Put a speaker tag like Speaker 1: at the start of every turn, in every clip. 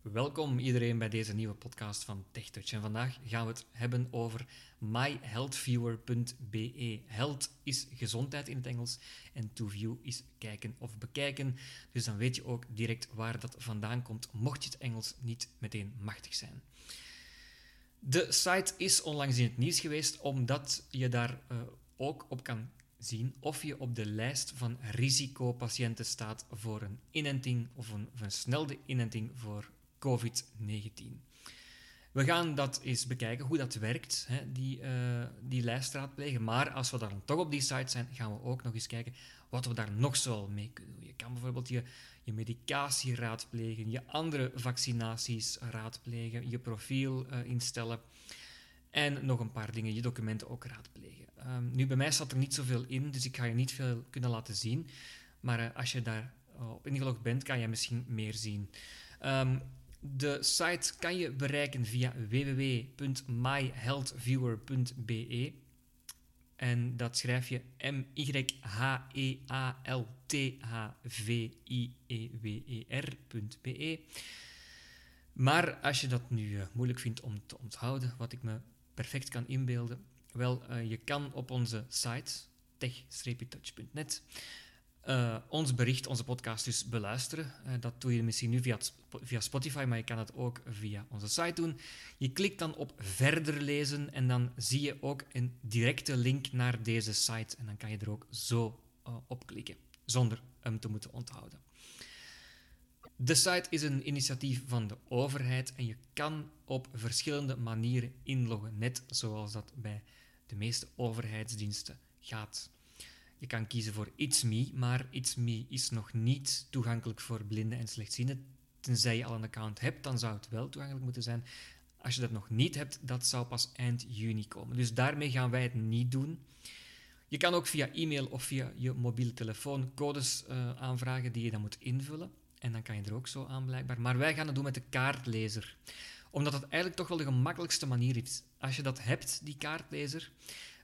Speaker 1: Welkom iedereen bij deze nieuwe podcast van TechTouch. En vandaag gaan we het hebben over myhealthviewer.be. Health is gezondheid in het Engels en to view is kijken of bekijken. Dus dan weet je ook direct waar dat vandaan komt, mocht je het Engels niet meteen machtig zijn. De site is onlangs in het nieuws geweest omdat je daar eh, ook op kan zien of je op de lijst van risicopatiënten staat voor een inenting of een versnelde inenting voor COVID-19. We gaan dat eens bekijken, hoe dat werkt, hè, die, eh die lijst raadplegen. Maar als we dan toch op die site zijn, gaan we ook nog eens kijken wat we daar nog zo mee kunnen doen. Je kan bijvoorbeeld je, je medicatie raadplegen, je andere vaccinaties raadplegen, je profiel eh, instellen. En nog een paar dingen, je documenten ook raadplegen. Ehm, nu, bij mij staat er niet zoveel in, dus ik ga je niet veel kunnen laten zien. Maar eh, als je daar eh, op ingelogd bent, kan je misschien meer zien. Ehm, de site kan je bereiken via www.myhealthviewer.be. En dat schrijf je E E m-y-h-e-a-l-t-h-v-i-e-w-e-r.be. E. Maar als je dat nu eh, moeilijk vindt om te onthouden, wat ik me perfect kan inbeelden, wel, eh, je kan op onze site tech-touch.net eh, ons bericht, onze podcast dus beluisteren. Eh, dat doe je misschien nu via, het Sp- via Spotify, maar je kan dat ook via onze site doen. Je klikt dan op verder lezen en dan zie je ook een directe link naar deze site. En dan kan je er ook zo eh, op klikken, zonder hem te moeten onthouden. De site is een initiatief van de overheid en je kan op verschillende manieren inloggen, net zoals dat bij de meeste overheidsdiensten gaat. Je kan kiezen voor It's Me, maar It's Me is nog niet toegankelijk voor blinden en slechtzienden. Tenzij je al een account hebt, dan zou het wel toegankelijk moeten zijn. Als je dat nog niet hebt, dat zou pas eind juni komen. Dus daarmee gaan wij het niet doen. Je kan ook via e-mail of via je mobiele telefoon codes eh, aanvragen die je dan moet invullen. En dan kan je er ook zo aan blijkbaar. Maar wij gaan het doen met de kaartlezer. Omdat het eigenlijk toch wel de gemakkelijkste manier is. Als je dat hebt, die kaartlezer,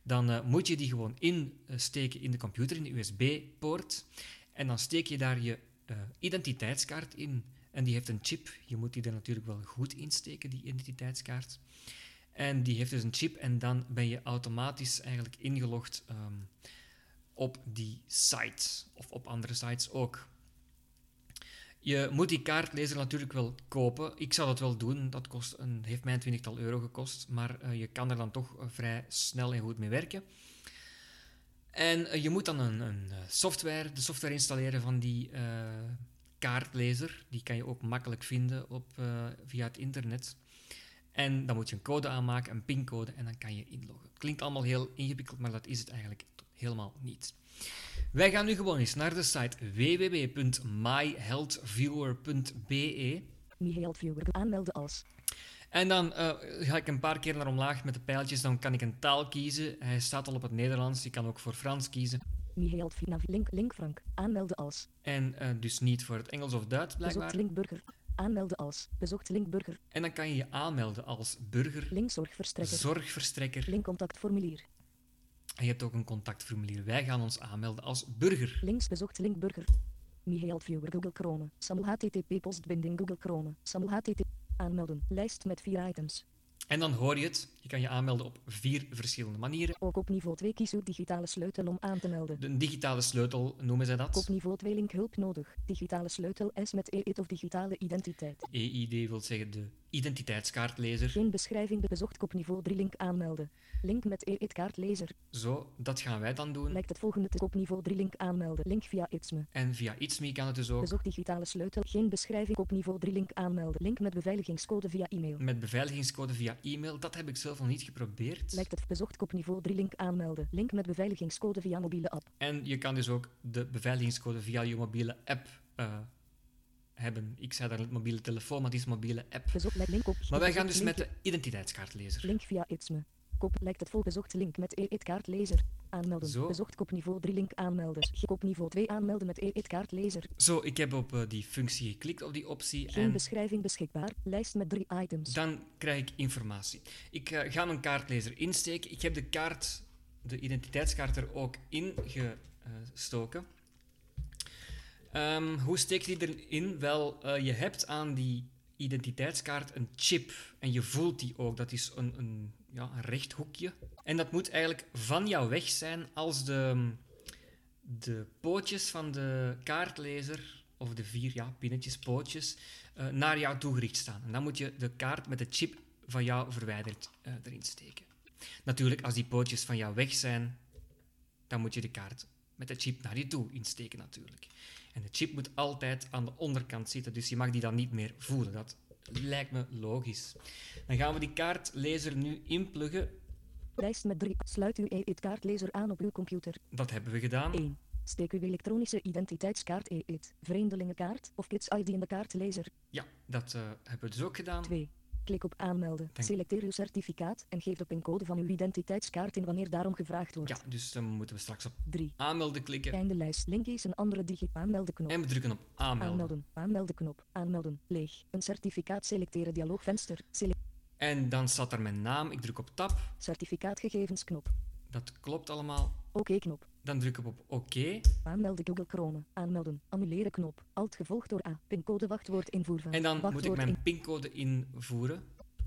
Speaker 1: dan eh, moet je die gewoon insteken in de computer, in de USB-poort. En dan steek je daar je eh, identiteitskaart in. En die heeft een chip. Je moet die er natuurlijk wel goed insteken, die identiteitskaart. En die heeft dus een chip en dan ben je automatisch eigenlijk ingelogd ehm, op die site. Of op andere sites ook. Je moet die kaartlezer natuurlijk wel kopen. Ik zou dat wel doen. Dat kost een, heeft mij een twintigtal euro gekost. Maar eh, je kan er dan toch eh, vrij snel en goed mee werken. En eh, je moet dan een, een eh, software, de software installeren van die eh, kaartlezer. Die kan je ook makkelijk vinden op, eh, via het internet. En dan moet je een code aanmaken, een pincode, en dan kan je inloggen. Klinkt allemaal heel ingewikkeld, maar dat is het eigenlijk t- helemaal niet. Wij gaan nu gewoon eens naar de site www.myhealthviewer.be
Speaker 2: MyHealthViewer aanmelden als
Speaker 1: en dan eh, ga ik een paar keer naar omlaag met de pijltjes. Dan kan ik een taal kiezen. Hij staat al op het Nederlands. Je kan ook voor Frans kiezen.
Speaker 2: MyHealthViewer nav- link link Frank aanmelden als
Speaker 1: En eh, dus niet voor het Engels of Duits
Speaker 2: bezocht
Speaker 1: blijkbaar.
Speaker 2: linkburger aanmelden als bezocht linkburger
Speaker 1: En dan kan je je aanmelden als burger,
Speaker 2: linkzorgverstrekker
Speaker 1: zorgverstrekker.
Speaker 2: linkcontactformulier
Speaker 1: En je hebt ook een contactformulier. Wij gaan ons aanmelden als burger.
Speaker 2: links bezocht linkburger MyHealthViewer Google Chrome Samuel HTTP postbinding Google Chrome Samuel HTTP aanmelden lijst met vier items
Speaker 1: En dan hoor je het. Je kan je aanmelden op vier verschillende manieren.
Speaker 2: ook op niveau 2 kies uw digitale sleutel om aan te melden
Speaker 1: De digitale sleutel noemen zij dat.
Speaker 2: op niveau 2 link hulp nodig digitale sleutel S met EID of digitale identiteit
Speaker 1: EID E wil zeggen de identiteitskaartlezer.
Speaker 2: geen beschrijving bezocht op niveau 3 link aanmelden link met EID kaartlezer
Speaker 1: Zo, dat gaan wij dan doen.
Speaker 2: Lijkt het volgende te op niveau 3 link aanmelden. Link via Itsme.
Speaker 1: En via ItsMe kan het dus ook.
Speaker 2: Bezocht digitale sleutel. Geen beschrijving op niveau 3 link aanmelden. Link met beveiligingscode via e-mail.
Speaker 1: Met beveiligingscode via e-mail, dat heb ik zelf nog niet geprobeerd.
Speaker 2: Lijkt het bezocht op niveau 3 link aanmelden. Link met beveiligingscode via mobiele app.
Speaker 1: En je kan dus ook de beveiligingscode via je mobiele app eh, hebben. Ik zei daar het mobiele telefoon, maar het is mobiele app.
Speaker 2: Bezocht lijkt link op.
Speaker 1: Maar wij
Speaker 2: bezocht
Speaker 1: gaan dus met
Speaker 2: link-
Speaker 1: de identiteitskaartlezer.
Speaker 2: Link via Itsme. Kop lijkt het vol bezocht link met EID kaartlezer. Aanmelden.
Speaker 1: Zo.
Speaker 2: Bezocht op niveau 3 link aanmelden. Ge- Op niveau 2 aanmelden met EID kaartlezer.
Speaker 1: Zo, ik heb op eh, die functie geklikt, op die optie.
Speaker 2: Geen
Speaker 1: En
Speaker 2: beschrijving beschikbaar. Lijst met drie items.
Speaker 1: Dan krijg ik informatie. Ik eh, ga mijn kaartlezer insteken. Ik heb de kaart, de identiteitskaart er ook in gestoken. Ehm, hoe steek je die erin? Wel, eh, je hebt aan die identiteitskaart een chip. En je voelt die ook. Dat is een, een, ja, een rechthoekje. En dat moet eigenlijk van jou weg zijn als de, ehm, de pootjes van de kaartlezer, of de vier ja, pinnetjes, pootjes, eh, naar jou toegericht staan. En dan moet je de kaart met de chip van jou verwijderd eh, erin steken. Natuurlijk, als die pootjes van jou weg zijn, dan moet je de kaart met de chip naar je toe insteken natuurlijk. En de chip moet altijd aan de onderkant zitten, dus je mag die dan niet meer voelen. Dat lijkt me logisch. Dan gaan we die kaartlezer nu inpluggen.
Speaker 2: Lijst met 3. Sluit uw EID-kaartlezer aan op uw computer.
Speaker 1: Dat hebben we gedaan.
Speaker 2: 1. Steek uw elektronische identiteitskaart EID, vreemdelingenkaart of Kids ID in de kaartlezer.
Speaker 1: Ja, dat eh, hebben we dus ook gedaan.
Speaker 2: 2. Klik op aanmelden.
Speaker 1: Dank.
Speaker 2: Selecteer uw certificaat en geef de pincode van uw identiteitskaart in wanneer daarom gevraagd wordt.
Speaker 1: Ja, dus dan moeten we straks op
Speaker 2: 3.
Speaker 1: aanmelden klikken.
Speaker 2: Einde lijst. Link is een andere digi aanmeldenknop.
Speaker 1: En we drukken op aanmelden.
Speaker 2: Aanmelden. Aanmeldenknop. Aanmelden. Leeg. Een certificaat selecteren dialoogvenster. Select
Speaker 1: En dan staat er mijn naam. Ik druk op tab.
Speaker 2: certificaatgegevensknop.
Speaker 1: Dat klopt allemaal.
Speaker 2: Oké knop.
Speaker 1: Dan druk ik op oké.
Speaker 2: Aanmelden Google Chrome. Aanmelden. Annuleren knop. Alt gevolgd door A. Pincode wachtwoord invoeren.
Speaker 1: En dan moet ik
Speaker 2: Wachtwoord
Speaker 1: mijn pincode invoeren.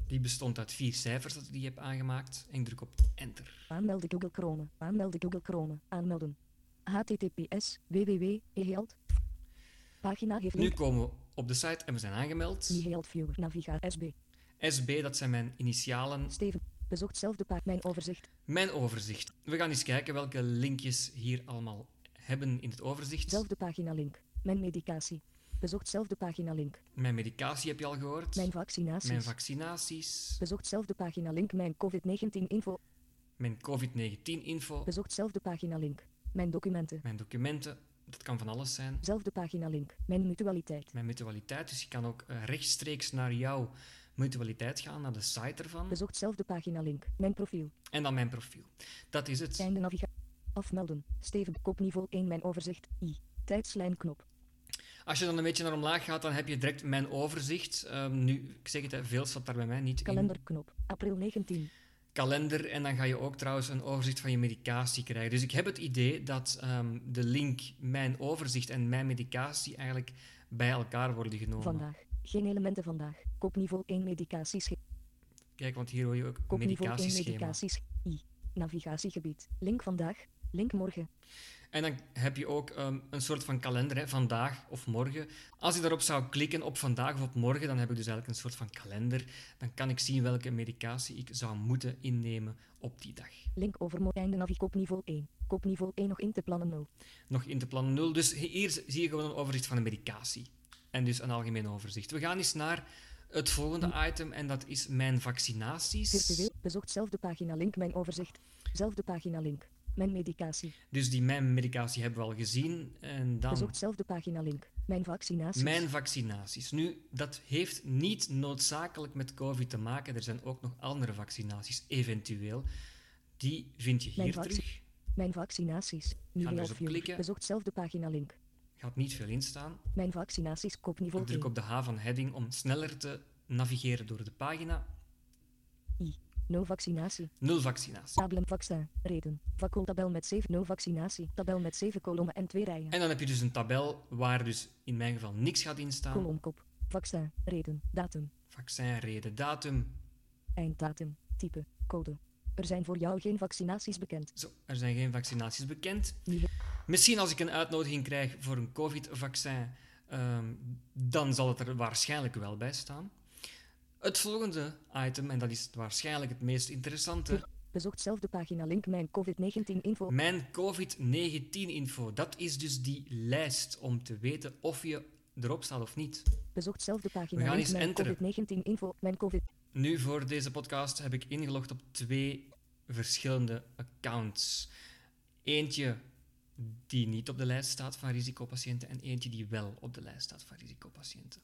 Speaker 1: Die bestond uit vier cijfers dat ik die heb aangemaakt. En ik druk op enter.
Speaker 2: Aanmelden Google Chrome. Aanmelden Google Chrome. Aanmelden. HTTPS E www.eheld. Pagina heeft
Speaker 1: Nu
Speaker 2: link.
Speaker 1: komen we op de site en we zijn aangemeld.
Speaker 2: Eheld viewer. Naviga SB.
Speaker 1: SB, dat zijn mijn initialen.
Speaker 2: Steven. Bezocht zelf de pagina. Mijn overzicht.
Speaker 1: Mijn overzicht. We gaan eens kijken welke linkjes hier allemaal hebben in het overzicht.
Speaker 2: Zelfde pagina link. Mijn medicatie. Bezocht zelf de pagina link.
Speaker 1: Mijn medicatie heb je al gehoord.
Speaker 2: Mijn vaccinaties.
Speaker 1: Mijn vaccinaties.
Speaker 2: Bezocht zelf de pagina link. Mijn COVID-19 info.
Speaker 1: Mijn COVID-19-info.
Speaker 2: Bezocht zelf de pagina link. Mijn documenten.
Speaker 1: Mijn documenten. Dat kan van alles zijn.
Speaker 2: Zelf de pagina link. Mijn mutualiteit.
Speaker 1: Mijn mutualiteit. Dus je kan ook eh, rechtstreeks naar jouw mutualiteit gaan, naar de site ervan.
Speaker 2: Bezocht zelf de pagina link. Mijn profiel.
Speaker 1: En dan mijn profiel. Dat is het.
Speaker 2: Zijn de navigatie. Afmelden. Steven. Kopniveau 1. Mijn overzicht. I. Tijdslijnknop.
Speaker 1: Als je dan een beetje naar omlaag gaat, dan heb je direct mijn overzicht. Ehm, nu, ik zeg het, hè, veel staat daar bij mij niet in.
Speaker 2: Kalenderknop. April 19.
Speaker 1: Kalender. En dan ga je ook trouwens een overzicht van je medicatie krijgen. Dus ik heb het idee dat ehm, de link mijn overzicht en mijn medicatie eigenlijk bij elkaar worden genomen.
Speaker 2: Vandaag. Geen elementen vandaag. Kopniveau 1. Medicaties.
Speaker 1: Kijk, want hier hoor je ook
Speaker 2: Kopniveau 1.
Speaker 1: medicatieschema.
Speaker 2: Medicaties. I. Navigatiegebied. Link vandaag. Link morgen.
Speaker 1: En dan heb je ook ehm, een soort van kalender, hè, vandaag of morgen. Als ik daarop zou klikken op vandaag of op morgen, dan heb ik dus eigenlijk een soort van kalender. Dan kan ik zien welke medicatie ik zou moeten innemen op die dag.
Speaker 2: Link overmorgen. Einde navi. Kopniveau 1. Kopniveau 1 nog in te plannen 0.
Speaker 1: Nog in te plan 0. Dus hier z- zie je gewoon een overzicht van de medicatie. En dus een algemeen overzicht. We gaan eens naar het volgende item en dat is mijn vaccinaties.
Speaker 2: Virtueel. Bezocht zelfde pagina link. Mijn overzicht. Zelfde pagina link. Mijn medicatie.
Speaker 1: Dus die mijn medicatie hebben we al gezien. En dan
Speaker 2: Bezocht zelfde pagina link. Mijn vaccinaties.
Speaker 1: Mijn vaccinaties. Nu, dat heeft niet noodzakelijk met COVID te maken. Er zijn ook nog andere vaccinaties, eventueel. Die vind je
Speaker 2: Mijn
Speaker 1: hier
Speaker 2: vac-
Speaker 1: terug.
Speaker 2: Mijn vaccinaties. Nu
Speaker 1: Ga er
Speaker 2: heel
Speaker 1: eens op klikken.
Speaker 2: viewer. Bezocht zelfde pagina link.
Speaker 1: Gaat niet veel in staan.
Speaker 2: Mijn vaccinaties. Kopniveau
Speaker 1: Ik druk
Speaker 2: 1.
Speaker 1: op de H van heading om sneller te navigeren door de pagina.
Speaker 2: I. No vaccinatie.
Speaker 1: Nul vaccinatie.
Speaker 2: Tabelen vaccin. Reden. Vakkeltabel met 7. No vaccinatie. Tabel met 7 kolommen en 2 rijen.
Speaker 1: En dan heb je dus een tabel waar dus in mijn geval niks gaat in staan.
Speaker 2: Kolomkop. Vaccin. Reden. Datum.
Speaker 1: Vaccin, reden, datum.
Speaker 2: Einddatum. Type. Code. Er zijn voor jou geen vaccinaties bekend.
Speaker 1: Zo, er zijn geen vaccinaties bekend.
Speaker 2: Nieuwe.
Speaker 1: Misschien als ik een uitnodiging krijg voor een COVID-vaccin, ehm, dan zal het er waarschijnlijk wel bij staan. Het volgende item, en dat is waarschijnlijk het meest interessante,
Speaker 2: Bezocht zelf de pagina link mijn COVID-19 info.
Speaker 1: mijn COVID-19-info. Dat is dus die lijst om te weten of je erop staat of niet.
Speaker 2: Bezocht zelf de
Speaker 1: We
Speaker 2: pagina
Speaker 1: gaan
Speaker 2: link
Speaker 1: eens
Speaker 2: mijn
Speaker 1: enteren.
Speaker 2: COVID-19 info. Mijn COVID.
Speaker 1: Nu, voor deze podcast heb ik ingelogd op twee verschillende accounts. Eentje die niet op de lijst staat van risicopatiënten en eentje die wel op de lijst staat van risicopatiënten.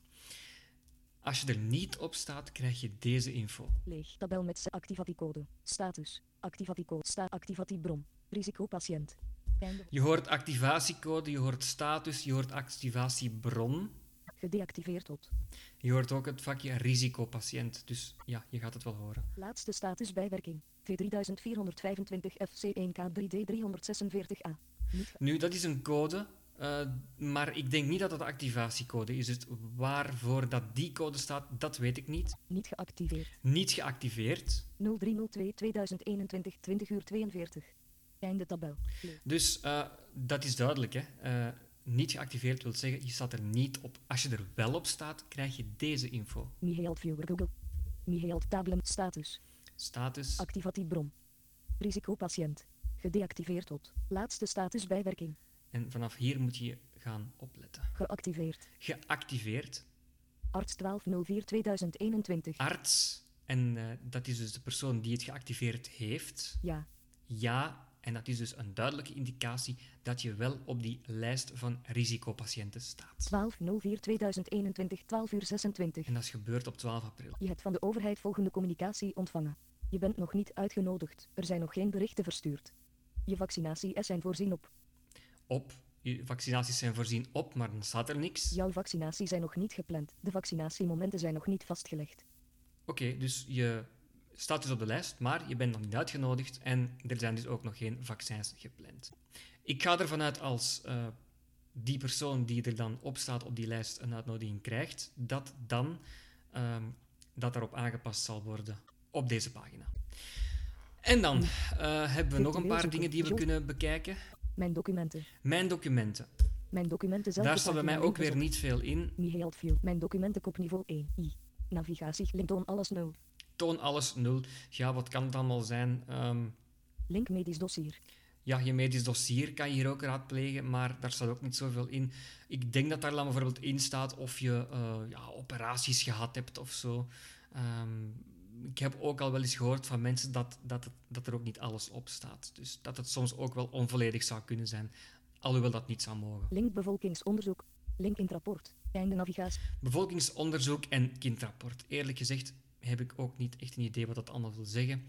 Speaker 1: Als je er niet op staat, krijg je deze info.
Speaker 2: Leeg. Tabel met z'n activatiecode. Status. Activatiecode. Sta activatiebron. Risicopatiënt. Einde.
Speaker 1: Je hoort activatiecode, je hoort status, je hoort activatiebron.
Speaker 2: Gedeactiveerd op.
Speaker 1: Je hoort ook het vakje risicopatiënt. Dus ja, je gaat het wel horen.
Speaker 2: Laatste statusbijwerking. T3425 FC1K3D346A. Niet ge-
Speaker 1: Nu, dat is een code. Eh, maar ik denk niet dat dat de activatiecode is. Dus waarvoor dat die code staat, dat weet ik niet.
Speaker 2: Niet geactiveerd.
Speaker 1: Niet geactiveerd.
Speaker 2: 0302 2021 20 uur 42. Einde tabel. Leeg.
Speaker 1: Dus eh, dat is duidelijk. Hè? Eh, niet geactiveerd wil zeggen, je staat er niet op. Als je er wel op staat, krijg je deze info.
Speaker 2: Mihail Viewer Google. Mihail Tablem status.
Speaker 1: Status.
Speaker 2: Activatie bron. Risicopatiënt. Gedeactiveerd tot. Laatste statusbijwerking.
Speaker 1: En vanaf hier moet je gaan opletten.
Speaker 2: Geactiveerd.
Speaker 1: Geactiveerd.
Speaker 2: Arts 1204 2021.
Speaker 1: Arts. En eh, dat is dus de persoon die het geactiveerd heeft.
Speaker 2: Ja.
Speaker 1: Ja. En dat is dus een duidelijke indicatie dat je wel op die lijst van risicopatiënten staat.
Speaker 2: 1204 2021 12 uur 26.
Speaker 1: En dat is gebeurd op 12 april.
Speaker 2: Je hebt van de overheid volgende communicatie ontvangen. Je bent nog niet uitgenodigd. Er zijn nog geen berichten verstuurd. Je vaccinatie zijn voorzien op.
Speaker 1: Op. Je vaccinaties zijn voorzien op, maar dan staat er niks.
Speaker 2: Jouw vaccinatie zijn nog niet gepland. De vaccinatiemomenten zijn nog niet vastgelegd.
Speaker 1: Oké, dus je staat dus op de lijst, maar je bent nog niet uitgenodigd en er zijn dus ook nog geen vaccins gepland. Ik ga ervan uit als eh, die persoon die er dan op staat op die lijst een uitnodiging krijgt, dat dan ehm, dat daarop aangepast zal worden op deze pagina. En dan eh, hebben we nog een paar dingen die we kunnen bekijken.
Speaker 2: Mijn documenten.
Speaker 1: Mijn documenten.
Speaker 2: Mijn documenten zelf.
Speaker 1: Daar staat bij mij ook weer niet veel in.
Speaker 2: Mihail View. Mijn documenten kopniveau 1. I. Navigatie. LinkedIn alles 0.
Speaker 1: Toon alles nul. Ja, wat kan het allemaal zijn? Ehm,
Speaker 2: Link medisch dossier.
Speaker 1: Ja, je medisch dossier kan je hier ook raadplegen, maar daar staat ook niet zoveel in. Ik denk dat daar dan bijvoorbeeld in staat of je eh, ja, operaties gehad hebt of zo. Ehm, ik heb ook al wel eens gehoord van mensen dat, dat, het- dat er ook niet alles op staat. Dus dat het soms ook wel onvolledig zou kunnen zijn, alhoewel dat niet zou mogen.
Speaker 2: Link bevolkingsonderzoek. Link in het rapport. Einde navigatie.
Speaker 1: Bevolkingsonderzoek en kindrapport. Eerlijk gezegd heb ik ook niet echt een idee wat dat allemaal wil zeggen.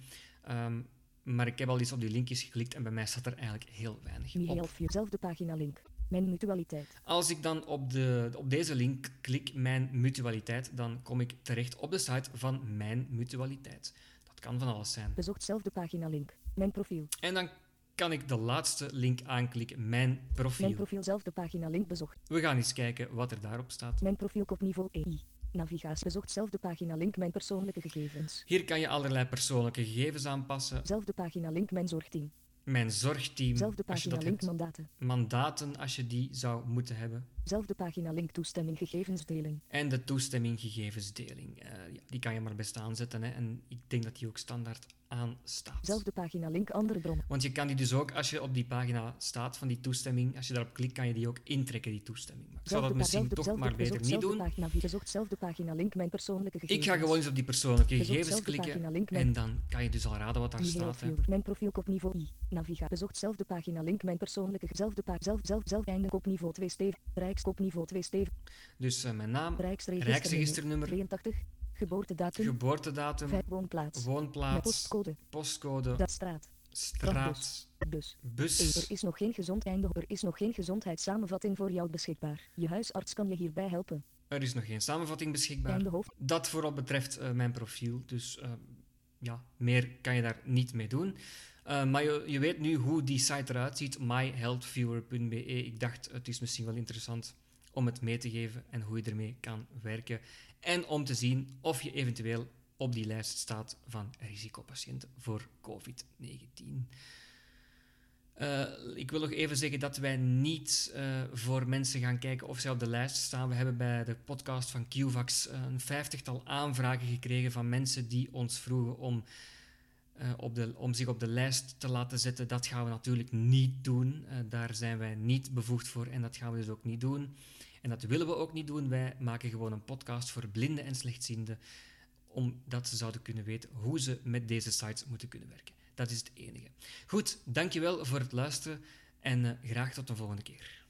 Speaker 1: Ehm, maar ik heb al eens op die linkjes geklikt en bij mij staat er eigenlijk heel weinig op.
Speaker 2: Mihail View. Zelfde pagina link. Mijn mutualiteit.
Speaker 1: Als ik dan op, de, op deze link klik, mijn mutualiteit, dan kom ik terecht op de site van mijn mutualiteit. Dat kan van alles zijn.
Speaker 2: Bezocht zelfde pagina link. Mijn profiel.
Speaker 1: En dan kan ik de laatste link aanklikken, mijn
Speaker 2: Mijn
Speaker 1: profiel.
Speaker 2: profiel zelfde pagina link bezocht.
Speaker 1: We gaan eens kijken wat er daarop staat.
Speaker 2: Mijn profiel kopniveau 1. I. Navigatie bezocht zelfde pagina link mijn persoonlijke gegevens.
Speaker 1: Hier kan je allerlei persoonlijke gegevens aanpassen.
Speaker 2: Zelfde pagina link mijn zorgteam.
Speaker 1: Mijn zorgteam,
Speaker 2: Zelfde
Speaker 1: Hmm. als je
Speaker 2: pagina
Speaker 1: dat
Speaker 2: link
Speaker 1: hebt.
Speaker 2: mandaten.
Speaker 1: Mandaten, als je die zou moeten hebben.
Speaker 2: Zelfde pagina link toestemming gegevensdeling.
Speaker 1: En de toestemming gegevensdeling. Eh, ja, die kan je maar best aanzetten. Hè. En ik denk dat die ook standaard aanstaat.
Speaker 2: Zelfde pagina link andere bronnen.
Speaker 1: Want je kan die dus ook, als je op die pagina staat van die toestemming, als je daarop klikt, kan je die ook intrekken, die toestemming. Maar ik zou dat
Speaker 2: Zelfde pa-
Speaker 1: misschien
Speaker 2: zelfde-
Speaker 1: toch
Speaker 2: zelfde-
Speaker 1: maar beter
Speaker 2: bezocht
Speaker 1: niet
Speaker 2: zelfde
Speaker 1: doen.
Speaker 2: Pagina, wie bezocht zelfde pagina link mijn persoonlijke
Speaker 1: Ik
Speaker 2: gegevens.
Speaker 1: ga gewoon eens op die persoonlijke
Speaker 2: Bezocht
Speaker 1: gegevens
Speaker 2: zelfde pagina,
Speaker 1: klikken
Speaker 2: link met-
Speaker 1: en dan kan je dus al raden wat daar
Speaker 2: Mihail
Speaker 1: staat. Hè.
Speaker 2: Viewer, mijn profiel kopniveau i. Naviga. Bezocht zelfde pagina link mijn persoonlijke zelfde pagina zelf zelf zelf einde kopniveau 2 steven. Rijkskopniveau 2 steven.
Speaker 1: Dus eh, mijn naam,
Speaker 2: Rijksregister.
Speaker 1: rijksregisternummer,
Speaker 2: 82. Geboortedatum.
Speaker 1: geboortedatum,
Speaker 2: Vijf woonplaats.
Speaker 1: woonplaats,
Speaker 2: postcode.
Speaker 1: postcode,
Speaker 2: Dat dus. straat.
Speaker 1: straat,
Speaker 2: Bus. Er
Speaker 1: bus.
Speaker 2: is nog geen gezond einde. Er is nog geen gezondheidssamenvatting voor jou beschikbaar. Je huisarts kan je hierbij helpen.
Speaker 1: Er is nog geen samenvatting beschikbaar.
Speaker 2: Einde hoofd.
Speaker 1: Dat vooral betreft eh, mijn profiel. Dus eh, ja, meer kan je daar niet mee doen. Eh, maar je, je weet nu hoe die site eruit ziet, myhealthviewer.be. Ik dacht, het is misschien wel interessant om het mee te geven en hoe je ermee kan werken. En om te zien of je eventueel op die lijst staat van risicopatiënten voor COVID-19. Eh, ik wil nog even zeggen dat wij niet eh, voor mensen gaan kijken of zij op de lijst staan. We hebben bij de podcast van QVAX eh, een vijftigtal aanvragen gekregen van mensen die ons vroegen om, eh, op de, om zich op de lijst te laten zetten. Dat gaan we natuurlijk niet doen. Eh, daar zijn wij niet bevoegd voor en dat gaan we dus ook niet doen. En dat willen we ook niet doen. Wij maken gewoon een podcast voor blinden en slechtzienden, omdat ze zouden kunnen weten hoe ze met deze sites moeten kunnen werken. Dat is het enige. Goed, dankjewel voor het luisteren en eh, graag tot de volgende keer.